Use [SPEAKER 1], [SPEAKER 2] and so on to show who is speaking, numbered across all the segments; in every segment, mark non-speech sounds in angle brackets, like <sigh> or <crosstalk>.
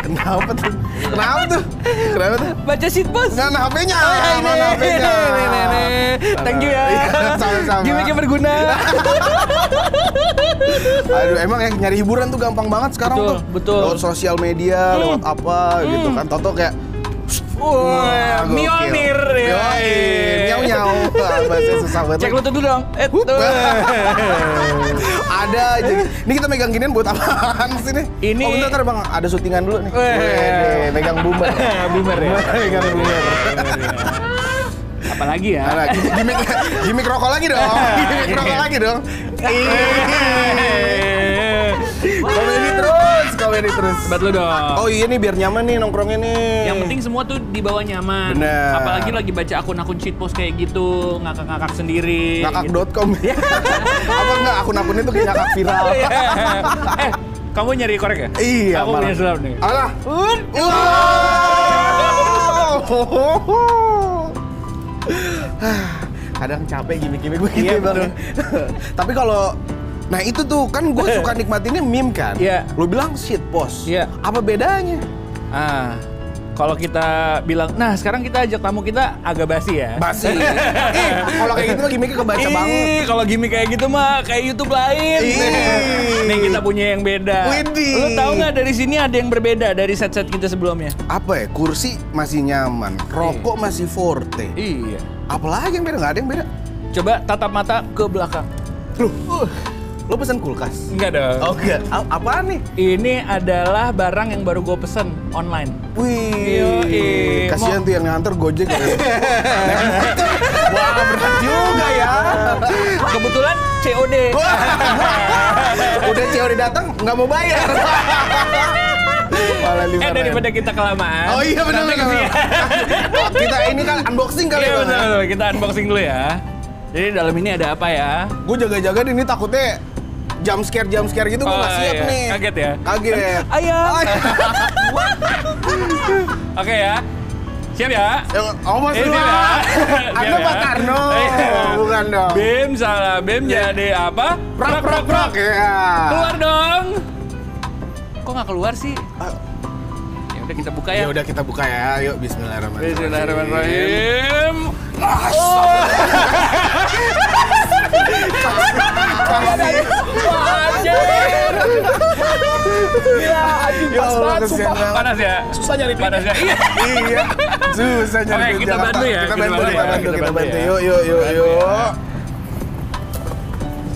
[SPEAKER 1] Kenapa tuh? Kenapa tuh? Kenapa tuh?
[SPEAKER 2] Baca sheet bos.
[SPEAKER 1] Nggak, nah, HP-nya.
[SPEAKER 2] Oh, ya, ini.
[SPEAKER 1] Mana HP-nya?
[SPEAKER 2] Ini, ini, ini. iya, Thank you ya.
[SPEAKER 1] Iya, sama-sama. Iya.
[SPEAKER 2] Gimik yang berguna.
[SPEAKER 1] Aduh, emang ya nyari hiburan tuh gampang banget sekarang
[SPEAKER 2] Betul,
[SPEAKER 1] tuh.
[SPEAKER 2] betul. Hmm.
[SPEAKER 1] Lewat sosial media, lewat apa gitu kan. Toto kayak
[SPEAKER 2] Oh, Wah, Mjolnir. ya.
[SPEAKER 1] Nyau nyau. Bahasa susah banget.
[SPEAKER 2] Cek lutut dulu dong. Eh,
[SPEAKER 1] Hup.
[SPEAKER 2] tuh.
[SPEAKER 1] <laughs> ada aja. Ini kita megang ginian buat apaan sih nih?
[SPEAKER 2] Ini-
[SPEAKER 1] Oh, bentar, bentar, Bang. Ada syutingan dulu nih.
[SPEAKER 2] Weh.
[SPEAKER 1] Wede, megang
[SPEAKER 2] <laughs>
[SPEAKER 1] boomer.
[SPEAKER 2] Boomer ya.
[SPEAKER 1] megang boomer.
[SPEAKER 2] Apalagi ya?
[SPEAKER 1] Nah, gimmick gimmick rokok lagi dong.
[SPEAKER 2] Iya.
[SPEAKER 1] Gimmick rokok lagi dong. Iya. Komedi terus, komedi terus.
[SPEAKER 2] Buat lu dong.
[SPEAKER 1] Oh iya nih biar nyaman nih nongkrongnya nih.
[SPEAKER 2] Yang penting semua tuh di bawah nyaman.
[SPEAKER 1] Bener.
[SPEAKER 2] Apalagi lagi baca akun-akun cheat post kayak gitu, ngakak-ngakak
[SPEAKER 1] <laughs>
[SPEAKER 2] sendiri. gitu.
[SPEAKER 1] ngakak.com. Apa enggak akun-akun itu kayak ngakak viral.
[SPEAKER 2] eh, kamu nyari korek ya?
[SPEAKER 1] Iya,
[SPEAKER 2] Iya. Aku
[SPEAKER 1] malah.
[SPEAKER 2] punya sulap nih.
[SPEAKER 1] Alah.
[SPEAKER 2] Un.
[SPEAKER 1] Wow. Kadang capek gimmick-gimmick begitu ya,
[SPEAKER 2] Iya,
[SPEAKER 1] Bang.
[SPEAKER 2] betul.
[SPEAKER 1] <laughs> Tapi kalau Nah itu tuh kan gue suka nikmatinnya meme kan.
[SPEAKER 2] Iya.
[SPEAKER 1] Lo bilang shit post.
[SPEAKER 2] Iya.
[SPEAKER 1] Apa bedanya?
[SPEAKER 2] Ah, kalau kita bilang, nah sekarang kita ajak tamu kita agak basi ya.
[SPEAKER 1] <laughs> Basi. eh, kalau kayak gitu mah gimmicknya kebaca
[SPEAKER 2] Ih,
[SPEAKER 1] banget.
[SPEAKER 2] kalau gimmick kayak gitu mah kayak YouTube lain.
[SPEAKER 1] Ih.
[SPEAKER 2] <laughs> Nih kita punya yang beda.
[SPEAKER 1] Widih.
[SPEAKER 2] Lu tahu nggak dari sini ada yang berbeda dari set-set kita sebelumnya?
[SPEAKER 1] Apa ya? Kursi masih nyaman, rokok masih forte.
[SPEAKER 2] Iya.
[SPEAKER 1] Apalagi yang beda? Gak ada yang beda.
[SPEAKER 2] Coba tatap mata ke belakang.
[SPEAKER 1] Loh, Uh, lo pesan kulkas?
[SPEAKER 2] Oh, Enggak dong.
[SPEAKER 1] Oke. Apaan nih?
[SPEAKER 2] Ini adalah barang yang baru gue pesen online. Yoi.
[SPEAKER 1] Wih, kasihan
[SPEAKER 2] Mau-
[SPEAKER 1] tuh yang nganter gojek
[SPEAKER 2] <laughs>
[SPEAKER 1] ya. Naik motor. Wah berat juga ya.
[SPEAKER 2] Kebetulan COD.
[SPEAKER 1] Wah, <laughs> Udah COD datang nggak mau
[SPEAKER 2] <laughs>
[SPEAKER 1] bayar. Malah
[SPEAKER 2] Eh
[SPEAKER 1] liburan.
[SPEAKER 2] daripada kita kelamaan.
[SPEAKER 1] Oh iya benar
[SPEAKER 2] nanti
[SPEAKER 1] benar.
[SPEAKER 2] kesian.
[SPEAKER 1] benar. <laughs> Kita ini kan unboxing kali ya.
[SPEAKER 2] Iya betul, betul. Kita unboxing dulu ya. Jadi dalam ini ada apa ya?
[SPEAKER 1] Gue jaga-jaga di ini takutnya jump scare jump scare gitu gue
[SPEAKER 2] Oh,
[SPEAKER 1] nggak siap
[SPEAKER 2] iya.
[SPEAKER 1] nih.
[SPEAKER 2] Kaget ya?
[SPEAKER 1] Kaget.
[SPEAKER 2] Ayam.
[SPEAKER 1] Ay.
[SPEAKER 2] Oke ya. Siap ya?
[SPEAKER 1] Oh Mas
[SPEAKER 2] Ini
[SPEAKER 1] Ruang.
[SPEAKER 2] ya.
[SPEAKER 1] Anda
[SPEAKER 2] Siap ya?
[SPEAKER 1] Pak Karno,
[SPEAKER 2] Iya.
[SPEAKER 1] bukan dong.
[SPEAKER 2] Bim salah, Bim jadi apa?
[SPEAKER 1] Prak prak prak ya.
[SPEAKER 2] Keluar dong. Kok nggak keluar sih? Ya udah kita buka ya.
[SPEAKER 1] Ya udah kita buka ya. Yuk bismillahirrahmanirrahim. Ya
[SPEAKER 2] Bismillahirrahmanirrahim. Anjir.
[SPEAKER 1] Iya, ya
[SPEAKER 3] pas
[SPEAKER 1] Allah
[SPEAKER 3] banget,
[SPEAKER 1] kesian
[SPEAKER 3] sumpah.
[SPEAKER 1] banget.
[SPEAKER 2] Panas ya?
[SPEAKER 3] Susah nyari duit.
[SPEAKER 2] Panas ya? Iya.
[SPEAKER 1] Iya, susah nyari duit
[SPEAKER 2] Oke, kita
[SPEAKER 1] Jakarta.
[SPEAKER 2] bantu ya,
[SPEAKER 1] Kita bantu, kita bantu, kita bantu.
[SPEAKER 2] ya.
[SPEAKER 1] Yuk, yuk, yuk,
[SPEAKER 2] Kita bantu ya.
[SPEAKER 1] yuk.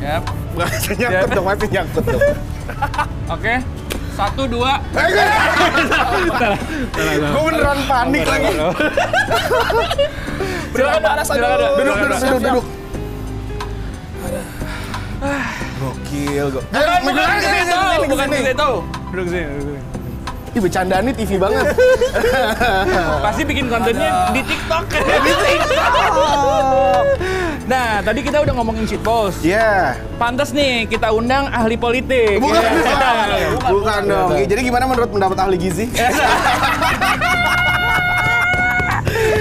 [SPEAKER 2] Siap.
[SPEAKER 1] Masih nyangkut dong, masih nyangkut dong.
[SPEAKER 2] Oke. Satu, dua.
[SPEAKER 1] Eh, Gue beneran panik lagi.
[SPEAKER 2] Silakan,
[SPEAKER 3] panas, aduh.
[SPEAKER 2] silakan, silakan.
[SPEAKER 1] Duduk, duduk,
[SPEAKER 3] Siap,
[SPEAKER 1] duduk,
[SPEAKER 3] siap.
[SPEAKER 1] duduk. Gokil, gok. Eh,
[SPEAKER 2] Bukan, bukan
[SPEAKER 1] bukan,
[SPEAKER 2] ke
[SPEAKER 1] bukan,
[SPEAKER 2] situ,
[SPEAKER 1] bukan,
[SPEAKER 2] bukan ke
[SPEAKER 1] bukan.
[SPEAKER 2] situ. Duduk sini, duduk sini.
[SPEAKER 1] Ih, bercandaannya TV <laughs> banget.
[SPEAKER 2] Pasti bikin kontennya di TikTok. <laughs> di TikTok.
[SPEAKER 1] Iya.
[SPEAKER 2] Nah, tadi kita udah ngomongin shit post.
[SPEAKER 1] Ya.
[SPEAKER 2] Pantas nih kita undang ahli politik.
[SPEAKER 1] Bukan,
[SPEAKER 2] Iya. <laughs>
[SPEAKER 1] bukan, bukan dong. Iya, Jadi gimana menurut pendapat ahli <laughs> gizi?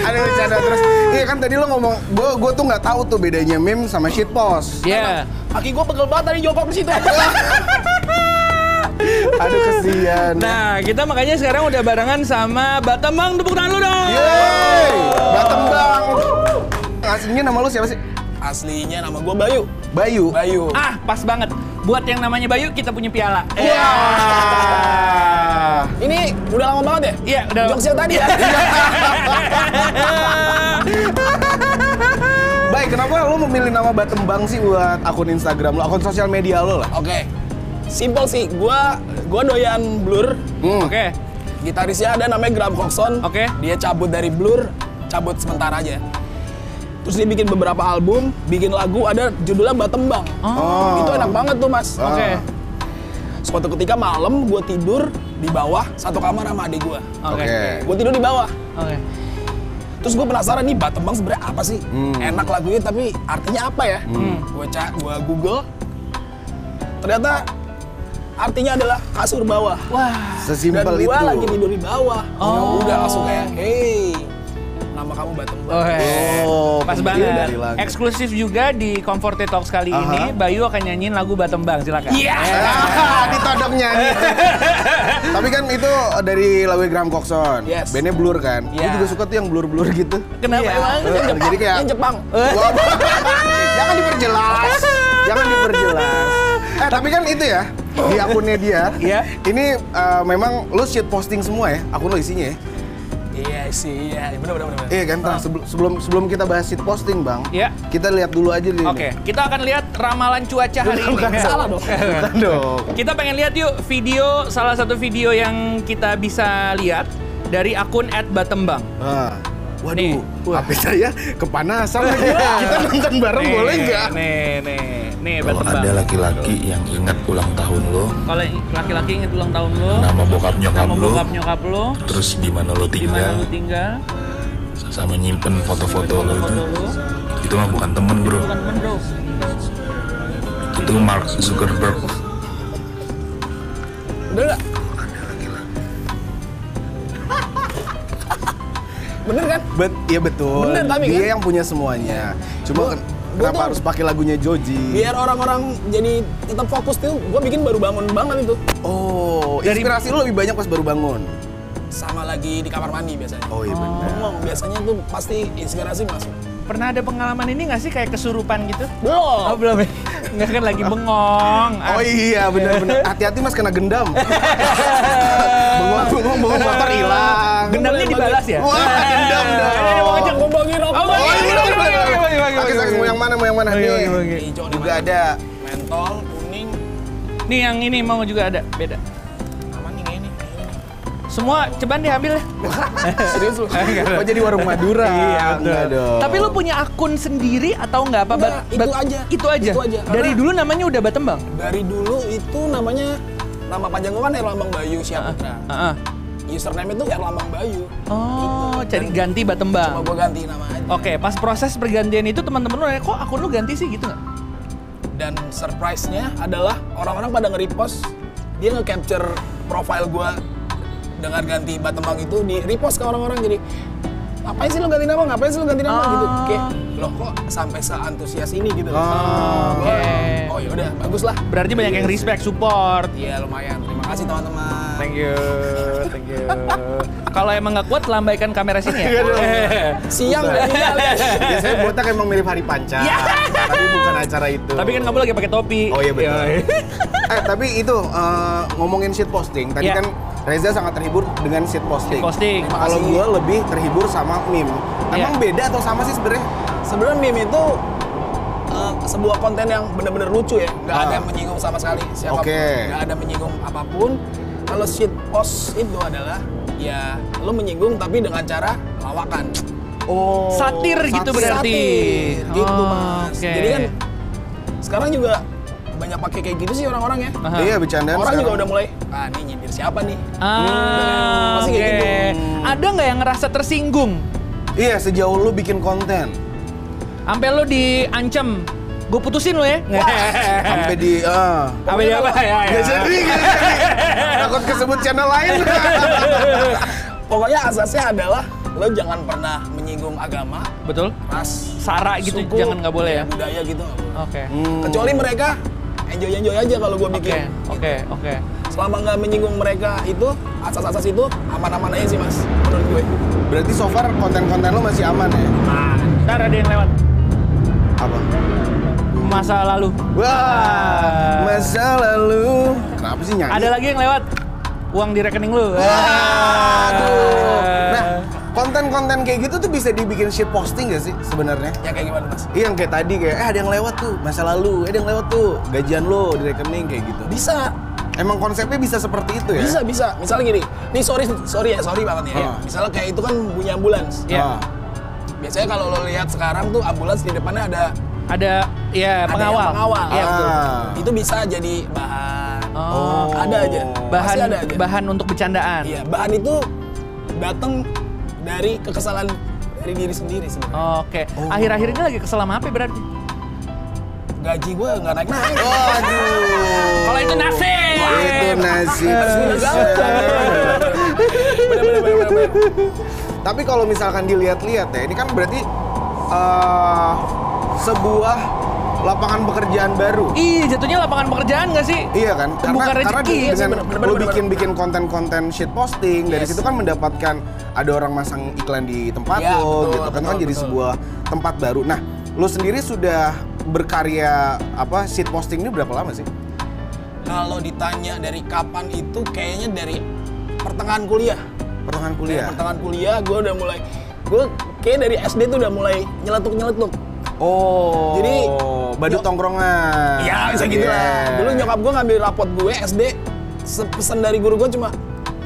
[SPEAKER 1] Ada bercanda terus. Iya kan tadi lo ngomong, gue gue tuh nggak tahu tuh bedanya meme sama shit post.
[SPEAKER 2] Iya.
[SPEAKER 3] Kaki gua pegel banget tadi jawab di situ.
[SPEAKER 1] Aduh kesian.
[SPEAKER 2] Nah, kita makanya sekarang udah barengan sama Batamang tepuk tangan lu dong.
[SPEAKER 1] Yeay, Batem Bang. Aslinya nama lu siapa sih?
[SPEAKER 3] Aslinya nama gua Bayu.
[SPEAKER 1] Bayu.
[SPEAKER 3] Bayu.
[SPEAKER 2] Ah, pas banget. Buat yang namanya Bayu kita punya piala.
[SPEAKER 3] Iya.
[SPEAKER 1] Wah.
[SPEAKER 3] Ini udah lama banget ya?
[SPEAKER 2] Iya, udah lama.
[SPEAKER 3] Jokes yang tadi ya?
[SPEAKER 1] Baik, kenapa lu memilih nama Batem Bang sih buat akun Instagram lo, akun sosial media lo lah?
[SPEAKER 3] Oke. Simple sih. Gua gua doyan Blur.
[SPEAKER 1] Hmm.
[SPEAKER 2] Oke.
[SPEAKER 3] Gitarisnya ada namanya Graham Coxon.
[SPEAKER 2] Oke.
[SPEAKER 3] Dia cabut dari Blur, cabut sementara aja. Terus dia bikin beberapa album, bikin lagu ada judulnya Batembang.
[SPEAKER 1] Oh.
[SPEAKER 3] Itu enak banget tuh, Mas.
[SPEAKER 1] Ah.
[SPEAKER 2] Oke.
[SPEAKER 3] Suatu ketika malam gua tidur di bawah satu kamar sama adik gua.
[SPEAKER 2] Oke.
[SPEAKER 1] Oke.
[SPEAKER 3] Gua tidur di bawah.
[SPEAKER 2] Oke.
[SPEAKER 3] Terus gue penasaran nih Batembang sebenarnya apa sih? Enak lagunya tapi artinya apa ya? Gue cak, gue Google. Ternyata artinya adalah kasur bawah.
[SPEAKER 2] Wah.
[SPEAKER 3] Dan
[SPEAKER 1] Sesimpel itu.
[SPEAKER 3] gue lagi tidur di bawah. Ya
[SPEAKER 2] Oh.
[SPEAKER 3] Udah langsung kayak, hey, nama kamu Batembang.
[SPEAKER 2] Oke.
[SPEAKER 1] Oh,
[SPEAKER 2] Pas
[SPEAKER 1] penting
[SPEAKER 2] banget.
[SPEAKER 1] dari langit.
[SPEAKER 2] Eksklusif juga di Comfort Talks kali
[SPEAKER 1] Aha.
[SPEAKER 2] ini Bayu akan nyanyiin lagu Batembang, silakan.
[SPEAKER 3] Iya. <laughs>
[SPEAKER 1] Ah, ditodong nyanyi. Tapi kan itu dari Lawe Graham Coxon.
[SPEAKER 3] Yes.
[SPEAKER 1] Bandnya Blur kan. Gue
[SPEAKER 2] Iya.
[SPEAKER 1] juga suka tuh yang blur-blur gitu.
[SPEAKER 2] Kenapa
[SPEAKER 3] Iya.
[SPEAKER 2] emang?
[SPEAKER 1] Eh, jadi kayak
[SPEAKER 3] Yang Jepang.
[SPEAKER 2] Eh.
[SPEAKER 1] Wah, <laughs> jangan diperjelas. Jangan diperjelas. Eh tapi kan itu ya di akunnya dia.
[SPEAKER 2] Iya.
[SPEAKER 1] Ini eh, memang lu shit posting semua ya akun lo isinya ya.
[SPEAKER 3] Iya sih, iya. Bener, bener, bener.
[SPEAKER 1] Iya kan. Nah, sebelum sebelum sebelum kita bahas shit posting bang.
[SPEAKER 2] Ah. Iya.
[SPEAKER 1] Kita lihat dulu aja di.
[SPEAKER 2] Oke, kita akan lihat ramalan cuaca hari ini.
[SPEAKER 1] Bukan
[SPEAKER 3] Salah dong.
[SPEAKER 1] Bukan dong.
[SPEAKER 2] Kita pengen lihat yuk video salah satu video yang kita bisa lihat dari akun @batembang.
[SPEAKER 1] Nah,
[SPEAKER 2] Nih. Iya.
[SPEAKER 1] Waduh, HP saya kepanasan lagi. Kita nonton bareng
[SPEAKER 2] Nih,
[SPEAKER 1] boleh nggak?
[SPEAKER 2] Nih, nih, nih
[SPEAKER 4] Kalau ada
[SPEAKER 2] Batembang.
[SPEAKER 4] laki-laki yang ingat ulang tahun lo,
[SPEAKER 2] Kalau laki-laki inget ulang tahun lo,
[SPEAKER 4] nama bokap nyokap
[SPEAKER 2] nama
[SPEAKER 4] lo,
[SPEAKER 2] bokap nyokap lo,
[SPEAKER 4] terus di mana lo
[SPEAKER 2] di mana
[SPEAKER 4] tinggal,
[SPEAKER 2] lo tinggal,
[SPEAKER 4] sama nyimpen foto-foto lo itu,
[SPEAKER 2] foto lo,
[SPEAKER 4] itu mah bukan temen bro,
[SPEAKER 2] bukan temen bro.
[SPEAKER 4] itu Mark Zuckerberg.
[SPEAKER 3] Bener nggak? Bener kan?
[SPEAKER 1] Bet, iya betul.
[SPEAKER 3] Bener, tapi
[SPEAKER 1] Dia
[SPEAKER 3] kan?
[SPEAKER 1] yang punya semuanya. Cuma
[SPEAKER 3] Gua-
[SPEAKER 1] ken-
[SPEAKER 3] gua
[SPEAKER 1] kenapa
[SPEAKER 3] tuh-
[SPEAKER 1] harus pakai lagunya Joji?
[SPEAKER 2] Iya.
[SPEAKER 3] Biar orang-orang jadi tetap fokus tuh, gue bikin baru bangun banget itu.
[SPEAKER 1] Oh,
[SPEAKER 2] Dari-
[SPEAKER 1] inspirasi lu lebih banyak pas baru bangun.
[SPEAKER 3] Sama lagi di kamar mandi biasanya.
[SPEAKER 1] Oh iya benar.
[SPEAKER 3] Ngomong, biasanya tuh pasti inspirasi masuk.
[SPEAKER 2] Pernah ada pengalaman ini nggak sih kayak kesurupan gitu?
[SPEAKER 3] Belum.
[SPEAKER 2] Oh belum ya? Nggak kan lagi bengong.
[SPEAKER 1] Oh iya benar-benar. Hati-hati mas kena gendam. Bengong-bengong bengong motor hilang.
[SPEAKER 2] Gendamnya dibalas ya?
[SPEAKER 1] Wah, gendam dong.
[SPEAKER 3] Nah, Mau ngajak ngomongin
[SPEAKER 2] Oh,
[SPEAKER 3] apa?
[SPEAKER 1] Oh,
[SPEAKER 2] iya,
[SPEAKER 1] ini
[SPEAKER 2] iya,
[SPEAKER 1] dong,
[SPEAKER 2] iya, iya, iya, iya,
[SPEAKER 1] Oke,
[SPEAKER 2] iya,
[SPEAKER 1] saya
[SPEAKER 2] iya.
[SPEAKER 1] mau yang mana, mau yang mana
[SPEAKER 2] Oke,
[SPEAKER 1] nih?
[SPEAKER 2] oke, oke.
[SPEAKER 3] Hijau di
[SPEAKER 1] Juga
[SPEAKER 3] mana?
[SPEAKER 1] ada.
[SPEAKER 3] Mentol, kuning,
[SPEAKER 2] Nih yang ini mau juga ada, beda.
[SPEAKER 3] aman nih kayaknya nih.
[SPEAKER 2] Semua ceban diambil ya.
[SPEAKER 3] Serius lu?
[SPEAKER 1] Kok jadi warung Madura?
[SPEAKER 2] Iya, betul.
[SPEAKER 1] Enggak dong.
[SPEAKER 2] Tapi lu punya akun sendiri atau nggak apa?
[SPEAKER 3] Enggak,
[SPEAKER 2] Bat-
[SPEAKER 3] itu
[SPEAKER 2] bat-
[SPEAKER 3] aja.
[SPEAKER 2] Itu aja.
[SPEAKER 3] Itu aja,
[SPEAKER 2] Dari
[SPEAKER 3] karena-
[SPEAKER 2] dulu namanya udah Batembang.
[SPEAKER 3] Dari dulu itu namanya nama panjang gua kan Erlambang Bayu Syaputra.
[SPEAKER 2] Heeh.
[SPEAKER 3] Username itu Erlambang Bayu.
[SPEAKER 2] Oh,
[SPEAKER 3] Gitu.
[SPEAKER 2] jadi
[SPEAKER 3] Dan
[SPEAKER 2] ganti
[SPEAKER 3] Cuma
[SPEAKER 2] Batembang.
[SPEAKER 3] gue ganti nama aja.
[SPEAKER 2] Oke, pas proses pergantian itu teman-teman lu nanya, kok akun lu ganti sih gitu nggak?
[SPEAKER 3] Dan surprise-nya adalah orang-orang pada nge-repost dia nge-capture profile gua dengan ganti Batembang itu di repost ke orang-orang jadi ngapain sih lo ganti nama ngapain sih lo ganti nama
[SPEAKER 2] Ah.
[SPEAKER 3] gitu kayak loh kok sampai seantusias ini gitu loh.
[SPEAKER 1] Ah,
[SPEAKER 3] Gua,
[SPEAKER 2] oke.
[SPEAKER 3] oh yaudah bagus lah
[SPEAKER 2] Berarti banyak yang respect, support.
[SPEAKER 3] iya lumayan terima kasih teman-teman
[SPEAKER 2] Thank you, thank you. <laughs> Kalau emang nggak kuat, lambaikan kamera sini ya.
[SPEAKER 1] Iya dong.
[SPEAKER 2] Eh.
[SPEAKER 3] siang
[SPEAKER 1] Betul.
[SPEAKER 3] dan
[SPEAKER 2] <laughs>
[SPEAKER 3] malam.
[SPEAKER 1] Biasanya Ya, botak emang mirip hari panca.
[SPEAKER 2] Ya.
[SPEAKER 1] Tapi bukan acara itu.
[SPEAKER 2] <laughs> Tapi kan kamu lagi pakai topi.
[SPEAKER 1] Oh iya betul. eh tapi itu eh, ngomongin shit posting. Tadi
[SPEAKER 2] Iya.
[SPEAKER 1] kan Reza sangat terhibur dengan shit posting.
[SPEAKER 2] Posting.
[SPEAKER 1] Kalau gue lebih terhibur sama meme. Emang
[SPEAKER 2] Iya.
[SPEAKER 1] beda atau sama sih sebenarnya?
[SPEAKER 3] Sebenarnya meme itu eh, sebuah konten yang benar-benar lucu ya, nggak
[SPEAKER 1] Ah.
[SPEAKER 3] ada yang menyinggung sama sekali siapapun,
[SPEAKER 1] Oke.
[SPEAKER 3] nggak ada menyinggung apapun. Kalau shit post itu adalah ya lo menyinggung tapi dengan cara lawakan.
[SPEAKER 1] Oh.
[SPEAKER 2] Satir gitu berarti.
[SPEAKER 3] Satir, gitu
[SPEAKER 2] Oh,
[SPEAKER 3] mas.
[SPEAKER 2] oke.
[SPEAKER 3] Jadi kan sekarang juga banyak pakai kayak gitu sih orang-orang ya.
[SPEAKER 2] Aha.
[SPEAKER 1] Iya bercandaan.
[SPEAKER 3] Orang
[SPEAKER 1] sekarang.
[SPEAKER 3] juga udah mulai, ah ini nyindir siapa nih?
[SPEAKER 2] Ah,
[SPEAKER 3] Pasti
[SPEAKER 2] oke.
[SPEAKER 3] kayak gitu.
[SPEAKER 2] Ada nggak yang ngerasa tersinggung?
[SPEAKER 1] Iya sejauh lu bikin konten
[SPEAKER 2] Sampai lo diancam, gue putusin lo
[SPEAKER 3] <laughs>
[SPEAKER 2] ya.
[SPEAKER 1] sampai di. eh.
[SPEAKER 2] Sampai di apa? Ya, ya.
[SPEAKER 1] Nggak
[SPEAKER 3] <laughs>
[SPEAKER 1] jadi, nggak jadi. Takut kesebut channel lain.
[SPEAKER 3] Pokoknya asasnya adalah lo jangan pernah menyinggung agama,
[SPEAKER 2] Betul.
[SPEAKER 3] ras,
[SPEAKER 2] Sara gitu
[SPEAKER 3] suku,
[SPEAKER 2] jangan nggak boleh ya.
[SPEAKER 3] budaya gitu nggak boleh.
[SPEAKER 2] Oke.
[SPEAKER 1] Hmm.
[SPEAKER 3] kecuali mereka enjoy enjoy aja kalau gue
[SPEAKER 2] Oke,
[SPEAKER 3] bikin
[SPEAKER 2] oke, oke.
[SPEAKER 3] selama nggak menyinggung mereka itu asas-asas itu aman-aman aja sih mas menurut gue
[SPEAKER 1] Berarti so far konten-konten lu masih aman ya?
[SPEAKER 3] Nah,
[SPEAKER 2] Ntar ada yang lewat.
[SPEAKER 1] Apa?
[SPEAKER 2] Masa lalu.
[SPEAKER 3] Nah,
[SPEAKER 1] Wah, masa lalu. Kenapa sih nyanyi?
[SPEAKER 2] Ada
[SPEAKER 3] iya.
[SPEAKER 2] lagi yang lewat. Uang di rekening lu.
[SPEAKER 1] Aduh.
[SPEAKER 2] Ah.
[SPEAKER 1] Nah, konten-konten kayak gitu tuh bisa dibikin shit posting gak sih sebenarnya?
[SPEAKER 3] ya kayak gimana mas
[SPEAKER 1] Iya yang kayak tadi kayak eh ada yang lewat tuh masa lalu, eh ada yang lewat tuh gajian lo di rekening kayak gitu.
[SPEAKER 3] bisa
[SPEAKER 1] Emang konsepnya bisa seperti itu ya?
[SPEAKER 3] bisa bisa misalnya gini nih sorry sorry ya sorry banget ya
[SPEAKER 1] Ah.
[SPEAKER 3] misalnya kayak itu kan bunyi ambulans
[SPEAKER 2] Iya.
[SPEAKER 1] Ah.
[SPEAKER 3] biasanya kalau lo lihat sekarang tuh ambulans di depannya ada
[SPEAKER 2] Ada ya
[SPEAKER 3] ada yang
[SPEAKER 2] pengawal.
[SPEAKER 3] pengawal
[SPEAKER 2] Iya,
[SPEAKER 1] Ah.
[SPEAKER 2] betul.
[SPEAKER 3] itu bisa jadi bahan
[SPEAKER 2] Oh.
[SPEAKER 3] ada aja
[SPEAKER 2] Bahan
[SPEAKER 3] Pasti ada aja
[SPEAKER 2] bahan untuk bercandaan.
[SPEAKER 3] iya bahan itu datang dari kekesalan dari diri sendiri sebenarnya
[SPEAKER 2] Oke.
[SPEAKER 3] Oh.
[SPEAKER 2] Akhir-akhir ini lagi kesel sama apa berarti?
[SPEAKER 3] gaji gue nggak Oh, iya. naik naik
[SPEAKER 1] Waduh.
[SPEAKER 2] Kalau itu nasib.
[SPEAKER 1] Itu nasib. Iya. Tapi kalau misalkan dilihat-lihat ya, ini kan berarti eh, sebuah lapangan pekerjaan baru.
[SPEAKER 2] Ih, jatuhnya lapangan pekerjaan nggak sih?
[SPEAKER 1] Iya kan?
[SPEAKER 2] Itu
[SPEAKER 1] Karena
[SPEAKER 2] bukan
[SPEAKER 1] karena
[SPEAKER 2] rezeki. Iya sih,
[SPEAKER 1] dengan
[SPEAKER 3] bener, bener,
[SPEAKER 1] lo
[SPEAKER 3] bener,
[SPEAKER 1] bikin
[SPEAKER 3] bener.
[SPEAKER 1] bikin konten-konten shit posting dari
[SPEAKER 3] Yes.
[SPEAKER 1] situ kan mendapatkan ada orang masang iklan di tempat lo
[SPEAKER 3] Iya, betul,
[SPEAKER 1] gitu kan
[SPEAKER 3] betul,
[SPEAKER 1] kan jadi
[SPEAKER 3] betul.
[SPEAKER 1] sebuah tempat baru. Nah, lo sendiri sudah berkarya apa shit posting ini berapa lama sih?
[SPEAKER 3] Kalau ditanya dari kapan itu kayaknya dari pertengahan kuliah.
[SPEAKER 1] Pertengahan
[SPEAKER 3] Dari
[SPEAKER 1] kuliah.
[SPEAKER 3] pertengahan kuliah gue udah mulai gue kayak dari SD tuh udah mulai nyeletuk-nyeletuk.
[SPEAKER 1] Oh. Jadi
[SPEAKER 3] Jadi-
[SPEAKER 1] badu
[SPEAKER 3] Nyok-
[SPEAKER 1] tongkrongan.
[SPEAKER 3] Ya bisa gitu lah. Dulu nyokap gue ngambil rapot gue SD, se- pesan dari guru gue cuma,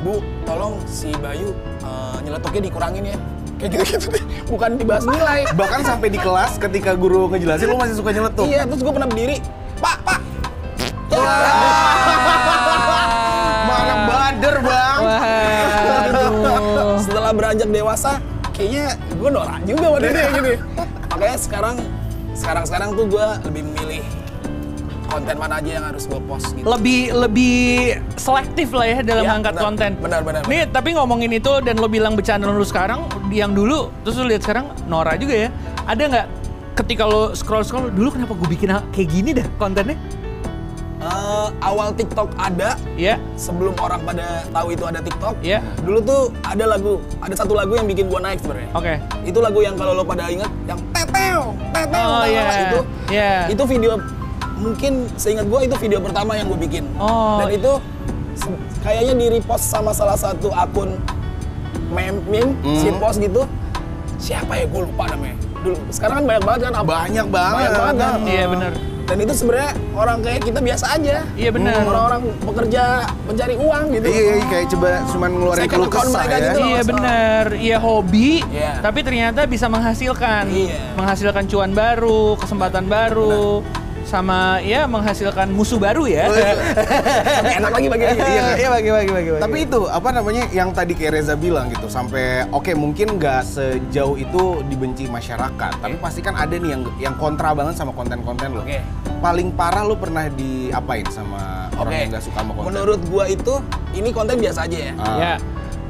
[SPEAKER 3] Bu, tolong si Bayu eh, nyeletoknya dikurangin ya. Kayak gitu-gitu deh. Bukan dibahas <laughs> nilai.
[SPEAKER 1] Bahkan sampai di kelas ketika guru ngejelasin lo masih suka nyeletuk. <laughs>
[SPEAKER 3] Iya, terus gue pernah berdiri, Pak, Pak. Ya.
[SPEAKER 1] Mah anak bader, Bang.
[SPEAKER 2] Waduh.
[SPEAKER 3] Setelah beranjak dewasa, kayaknya gue norak juga waktu itu ya <laughs> gitu. Makanya sekarang, sekarang-sekarang tuh gue lebih memilih konten mana aja yang harus gue post gitu.
[SPEAKER 2] lebih lebih selektif lah ya dalam
[SPEAKER 3] Iya,
[SPEAKER 2] mengangkat
[SPEAKER 3] benar.
[SPEAKER 2] konten.
[SPEAKER 3] Benar, benar, benar.
[SPEAKER 2] Nih, tapi ngomongin itu dan lo bilang bercanda lu sekarang, yang dulu terus lo lihat sekarang Nora juga ya. Ada nggak ketika lo scroll scroll dulu kenapa gue bikin hal- kayak gini dah kontennya?
[SPEAKER 3] Eh, awal TikTok ada,
[SPEAKER 2] Ya.
[SPEAKER 3] sebelum orang pada tahu itu ada TikTok,
[SPEAKER 2] Iya.
[SPEAKER 3] dulu tuh ada lagu, ada satu lagu yang bikin gua naik sebenarnya.
[SPEAKER 2] Oke.
[SPEAKER 3] Itu lagu yang kalau lo pada inget, yang teteo, teteo,
[SPEAKER 2] Oh,
[SPEAKER 3] teteo,
[SPEAKER 2] iya.
[SPEAKER 3] itu,
[SPEAKER 2] Iya.
[SPEAKER 3] itu video mungkin seingat gua itu video pertama yang gue bikin.
[SPEAKER 2] Oh.
[SPEAKER 3] Dan itu se- kayaknya di repost sama salah satu akun meme, meme shitpost gitu. Siapa ya gue lupa namanya. Dulu sekarang kan banyak banget kan abang.
[SPEAKER 1] Banyak banget.
[SPEAKER 3] Banyak banget kan.
[SPEAKER 2] Iya benar.
[SPEAKER 3] Dan itu sebenarnya orang kayak kita biasa aja. Hmm,
[SPEAKER 2] Iya, benar.
[SPEAKER 3] Orang-orang bekerja mencari uang gitu.
[SPEAKER 1] Iya, iya,
[SPEAKER 3] <laughs>
[SPEAKER 1] kayak coba cuman ngeluarin
[SPEAKER 3] Second
[SPEAKER 1] keluh
[SPEAKER 3] account
[SPEAKER 1] kesah
[SPEAKER 3] mereka
[SPEAKER 1] ya.
[SPEAKER 3] gitu loh.
[SPEAKER 2] Iya
[SPEAKER 3] masalah.
[SPEAKER 2] benar. Iya hobi,
[SPEAKER 3] Iya.
[SPEAKER 2] tapi ternyata bisa menghasilkan,
[SPEAKER 3] Iya.
[SPEAKER 2] menghasilkan cuan baru, kesempatan baru, sama ya menghasilkan musuh baru ya.
[SPEAKER 3] Tapi enak lagi Oh, iya, bagi lagi.
[SPEAKER 1] Iya, kan?
[SPEAKER 2] bagi bagi bagi. bagi.
[SPEAKER 1] Tapi itu apa namanya yang tadi kayak Reza bilang gitu sampai oke mungkin nggak sejauh itu dibenci masyarakat tapi pasti kan ada nih yang yang kontra banget sama konten-konten lo.
[SPEAKER 3] Oke.
[SPEAKER 1] Paling parah lo pernah diapain sama orang
[SPEAKER 3] Oke.
[SPEAKER 1] yang nggak suka sama konten?
[SPEAKER 3] Menurut gua itu ini konten biasa aja ya.
[SPEAKER 1] Ah.
[SPEAKER 2] ya.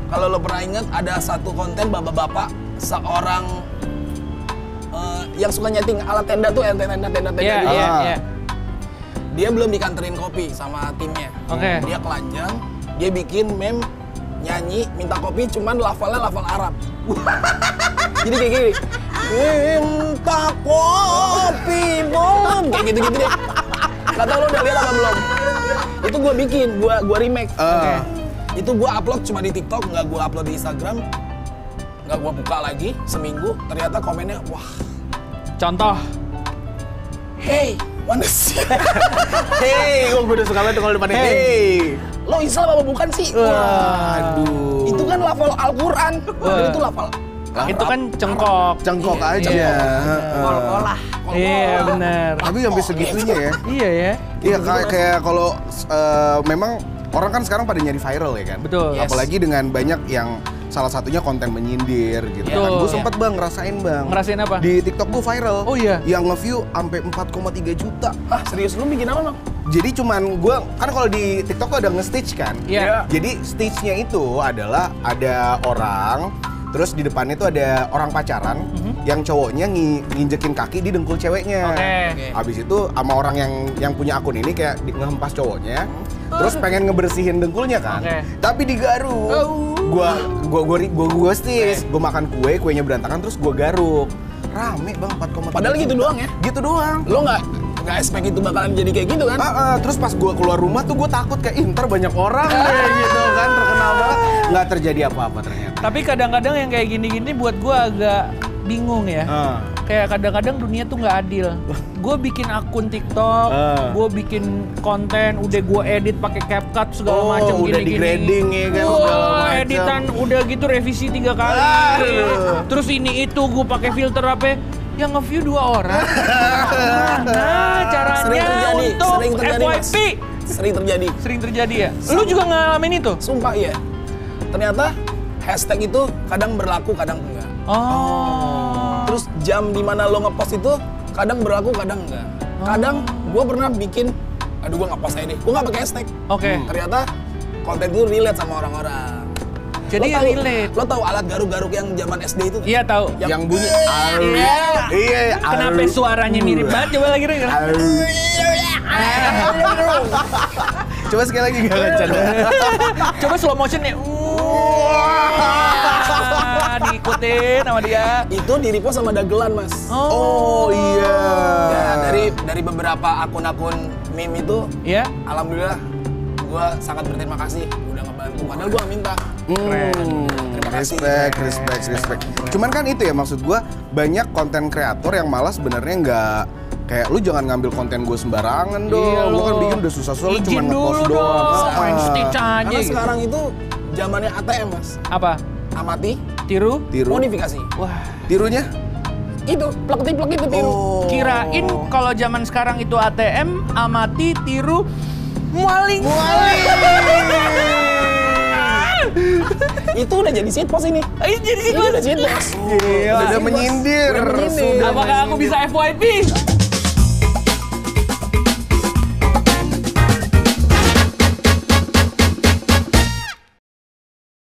[SPEAKER 3] Kalau lo pernah inget ada satu konten bapak-bapak seorang eh, yang suka nyeting alat tenda tuh alat tenda tenda
[SPEAKER 2] Iya,
[SPEAKER 3] tenda gitu.
[SPEAKER 2] iya,
[SPEAKER 1] Ah.
[SPEAKER 2] iya.
[SPEAKER 3] Dia belum dikanterin kopi sama timnya.
[SPEAKER 2] Oke.
[SPEAKER 3] Dia telanjang, dia bikin meme nyanyi minta kopi cuman lafalnya lafal Arab. <laughs> Jadi kayak gini. Minta kopi dong. Kayak gitu-gitu deh. Gak tau lo udah lihat apa belum? Itu gue bikin, gue gua remake.
[SPEAKER 1] Ah.
[SPEAKER 3] Itu gue upload cuma di TikTok, nggak gue upload di Instagram. Nggak gue buka lagi seminggu. Ternyata komennya, wah,
[SPEAKER 2] Contoh.
[SPEAKER 3] hey, wanna see? <laughs>
[SPEAKER 1] Hey, oh, gue udah suka banget tuh kalau depannya.
[SPEAKER 2] Hey.
[SPEAKER 1] Hey.
[SPEAKER 3] lo Islam apa bukan sih?
[SPEAKER 1] Aduh.
[SPEAKER 3] Ah. Itu kan lafal Al-Quran.
[SPEAKER 2] Wah.
[SPEAKER 3] Dan itu lafal.
[SPEAKER 1] Ah.
[SPEAKER 2] Itu kan cengkok.
[SPEAKER 1] cengkok
[SPEAKER 2] Iya,
[SPEAKER 1] aja.
[SPEAKER 2] iya.
[SPEAKER 1] Heeh.
[SPEAKER 3] Kol-kolah.
[SPEAKER 2] Iya, benar.
[SPEAKER 1] Tapi sampai segitunya ya.
[SPEAKER 2] Iya ya.
[SPEAKER 1] Iya kayak, kayak kalau eh, memang orang kan sekarang pada nyari viral ya kan.
[SPEAKER 2] Betul.
[SPEAKER 3] Yes.
[SPEAKER 1] Apalagi dengan banyak yang salah satunya konten menyindir gitu
[SPEAKER 2] Betul. Iya.
[SPEAKER 1] kan. Gue sempet bang ngerasain bang.
[SPEAKER 2] Ngerasain apa?
[SPEAKER 1] Di TikTok gue viral.
[SPEAKER 2] Oh, iya?
[SPEAKER 1] Yang nge-view sampai 4,3 juta.
[SPEAKER 3] Ah, serius lu bikin apa, Bang?
[SPEAKER 1] Jadi cuman gue kan kalau di TikTok tuh ada nge-stitch kan.
[SPEAKER 2] Iya.
[SPEAKER 1] Jadi stage-nya itu adalah ada orang, terus di depannya itu ada orang pacaran,
[SPEAKER 3] Mhm.
[SPEAKER 1] yang cowoknya ngi- nginjekin kaki di dengkul ceweknya.
[SPEAKER 2] Oke.
[SPEAKER 3] Oke.
[SPEAKER 1] Habis itu sama orang yang yang punya akun ini kayak di- ngehempas cowoknya,
[SPEAKER 3] Oh.
[SPEAKER 1] terus pengen ngebersihin dengkulnya kan,
[SPEAKER 2] Oke.
[SPEAKER 1] tapi digaru.
[SPEAKER 3] Oh.
[SPEAKER 1] Gua gua gua ri- gua gua stis, gua makan kue, kuenya berantakan terus gua garuk. Rame bang 4,3.
[SPEAKER 3] Padahal gitu
[SPEAKER 1] juta.
[SPEAKER 3] doang ya?
[SPEAKER 1] Gitu doang.
[SPEAKER 3] Lo nggak nggak expect itu bakalan jadi kayak gitu kan?
[SPEAKER 1] Ah, ah, terus pas gua keluar rumah tuh gua takut kayak "Ih, ntar banyak orang deh gitu kan terkenal banget nggak terjadi apa-apa ternyata.
[SPEAKER 2] Tapi kadang-kadang yang kayak gini-gini buat gua agak bingung ya.
[SPEAKER 1] Ah.
[SPEAKER 2] Kayak kadang-kadang dunia tuh nggak adil. Gue bikin akun TikTok,
[SPEAKER 1] Ah.
[SPEAKER 2] gue bikin konten, udah gue edit pakai CapCut segala
[SPEAKER 1] Oh,
[SPEAKER 2] macam
[SPEAKER 1] udah
[SPEAKER 2] gini-gini.
[SPEAKER 1] digrading ya kan,
[SPEAKER 2] Wah,
[SPEAKER 1] segala macam.
[SPEAKER 2] editan udah gitu revisi tiga kali.
[SPEAKER 1] Aduh.
[SPEAKER 2] Terus ini itu gue pakai filter apa? Yang nge-view dua orang.
[SPEAKER 1] <laughs>
[SPEAKER 2] Nah,
[SPEAKER 3] Sering
[SPEAKER 2] caranya
[SPEAKER 3] terjadi,
[SPEAKER 2] untuk
[SPEAKER 3] sering terjadi, Mas.
[SPEAKER 2] FYP.
[SPEAKER 3] Sering terjadi.
[SPEAKER 2] Sering terjadi ya. Lu juga ngalamin itu?
[SPEAKER 3] Sumpah iya. Ternyata hashtag itu kadang berlaku, kadang enggak.
[SPEAKER 2] Oh.
[SPEAKER 3] Terus jam di mana lo ngepost itu kadang berlaku, kadang enggak.
[SPEAKER 2] Oh.
[SPEAKER 3] Kadang gue pernah bikin, aduh
[SPEAKER 2] Hmm.
[SPEAKER 3] gue nggak post aja deh. Gue nggak pakai hashtag.
[SPEAKER 2] Oke.
[SPEAKER 3] Ternyata konten itu relate sama orang-orang.
[SPEAKER 2] Jadi
[SPEAKER 3] lo tahu,
[SPEAKER 2] relate.
[SPEAKER 3] Lo tahu alat garuk-garuk yang zaman SD itu?
[SPEAKER 2] Iya tahu.
[SPEAKER 3] Yang-
[SPEAKER 1] yang bunyi aru.
[SPEAKER 2] Iya.
[SPEAKER 1] Iya,
[SPEAKER 2] Kenapa
[SPEAKER 1] aru.
[SPEAKER 2] suaranya mirip banget? Coba lagi dengar.
[SPEAKER 1] Aru. Coba sekali lagi gak canda.
[SPEAKER 2] Coba slow motion ya. Wah, diikutin sama dia.
[SPEAKER 3] Itu di repost sama dagelan, Mas.
[SPEAKER 1] Oh iya.
[SPEAKER 3] Ya, dari dari beberapa akun-akun meme itu,
[SPEAKER 2] ya.
[SPEAKER 3] alhamdulillah gue sangat berterima kasih udah ngebantu. Padahal gue minta.
[SPEAKER 1] Hmm,
[SPEAKER 3] kasih.
[SPEAKER 1] respect, respect, respect. Cuman kan itu ya maksud gua banyak konten kreator yang malah sebenarnya nggak kayak lu jangan ngambil konten gue sembarangan dong.
[SPEAKER 2] Iya
[SPEAKER 1] Gua kan
[SPEAKER 2] lo.
[SPEAKER 1] bikin udah susah susah lu cuma
[SPEAKER 2] Izin
[SPEAKER 1] ngepost
[SPEAKER 2] dulu
[SPEAKER 1] doang.
[SPEAKER 2] dong.
[SPEAKER 1] Ah.
[SPEAKER 2] Main stitch aja.
[SPEAKER 3] Karena
[SPEAKER 2] gitu.
[SPEAKER 3] sekarang itu zamannya ATM, Mas.
[SPEAKER 2] Apa?
[SPEAKER 3] Amati,
[SPEAKER 2] Tiru?
[SPEAKER 1] Tiru.
[SPEAKER 3] modifikasi.
[SPEAKER 2] Wah.
[SPEAKER 1] Tirunya?
[SPEAKER 3] Itu plek-plek itu tiru.
[SPEAKER 1] Oh.
[SPEAKER 2] Kirain kalau zaman sekarang itu ATM, amati, tiru, mualing. Mualing.
[SPEAKER 3] Itu udah jadi shitpost ini.
[SPEAKER 2] Ayo
[SPEAKER 1] Iya,
[SPEAKER 2] jadi
[SPEAKER 3] Ini
[SPEAKER 2] ikut.
[SPEAKER 3] udah shitpost.
[SPEAKER 1] Udah menyindir.
[SPEAKER 3] Udah menyindir.
[SPEAKER 1] Sudah
[SPEAKER 2] Apakah aku bisa FYP?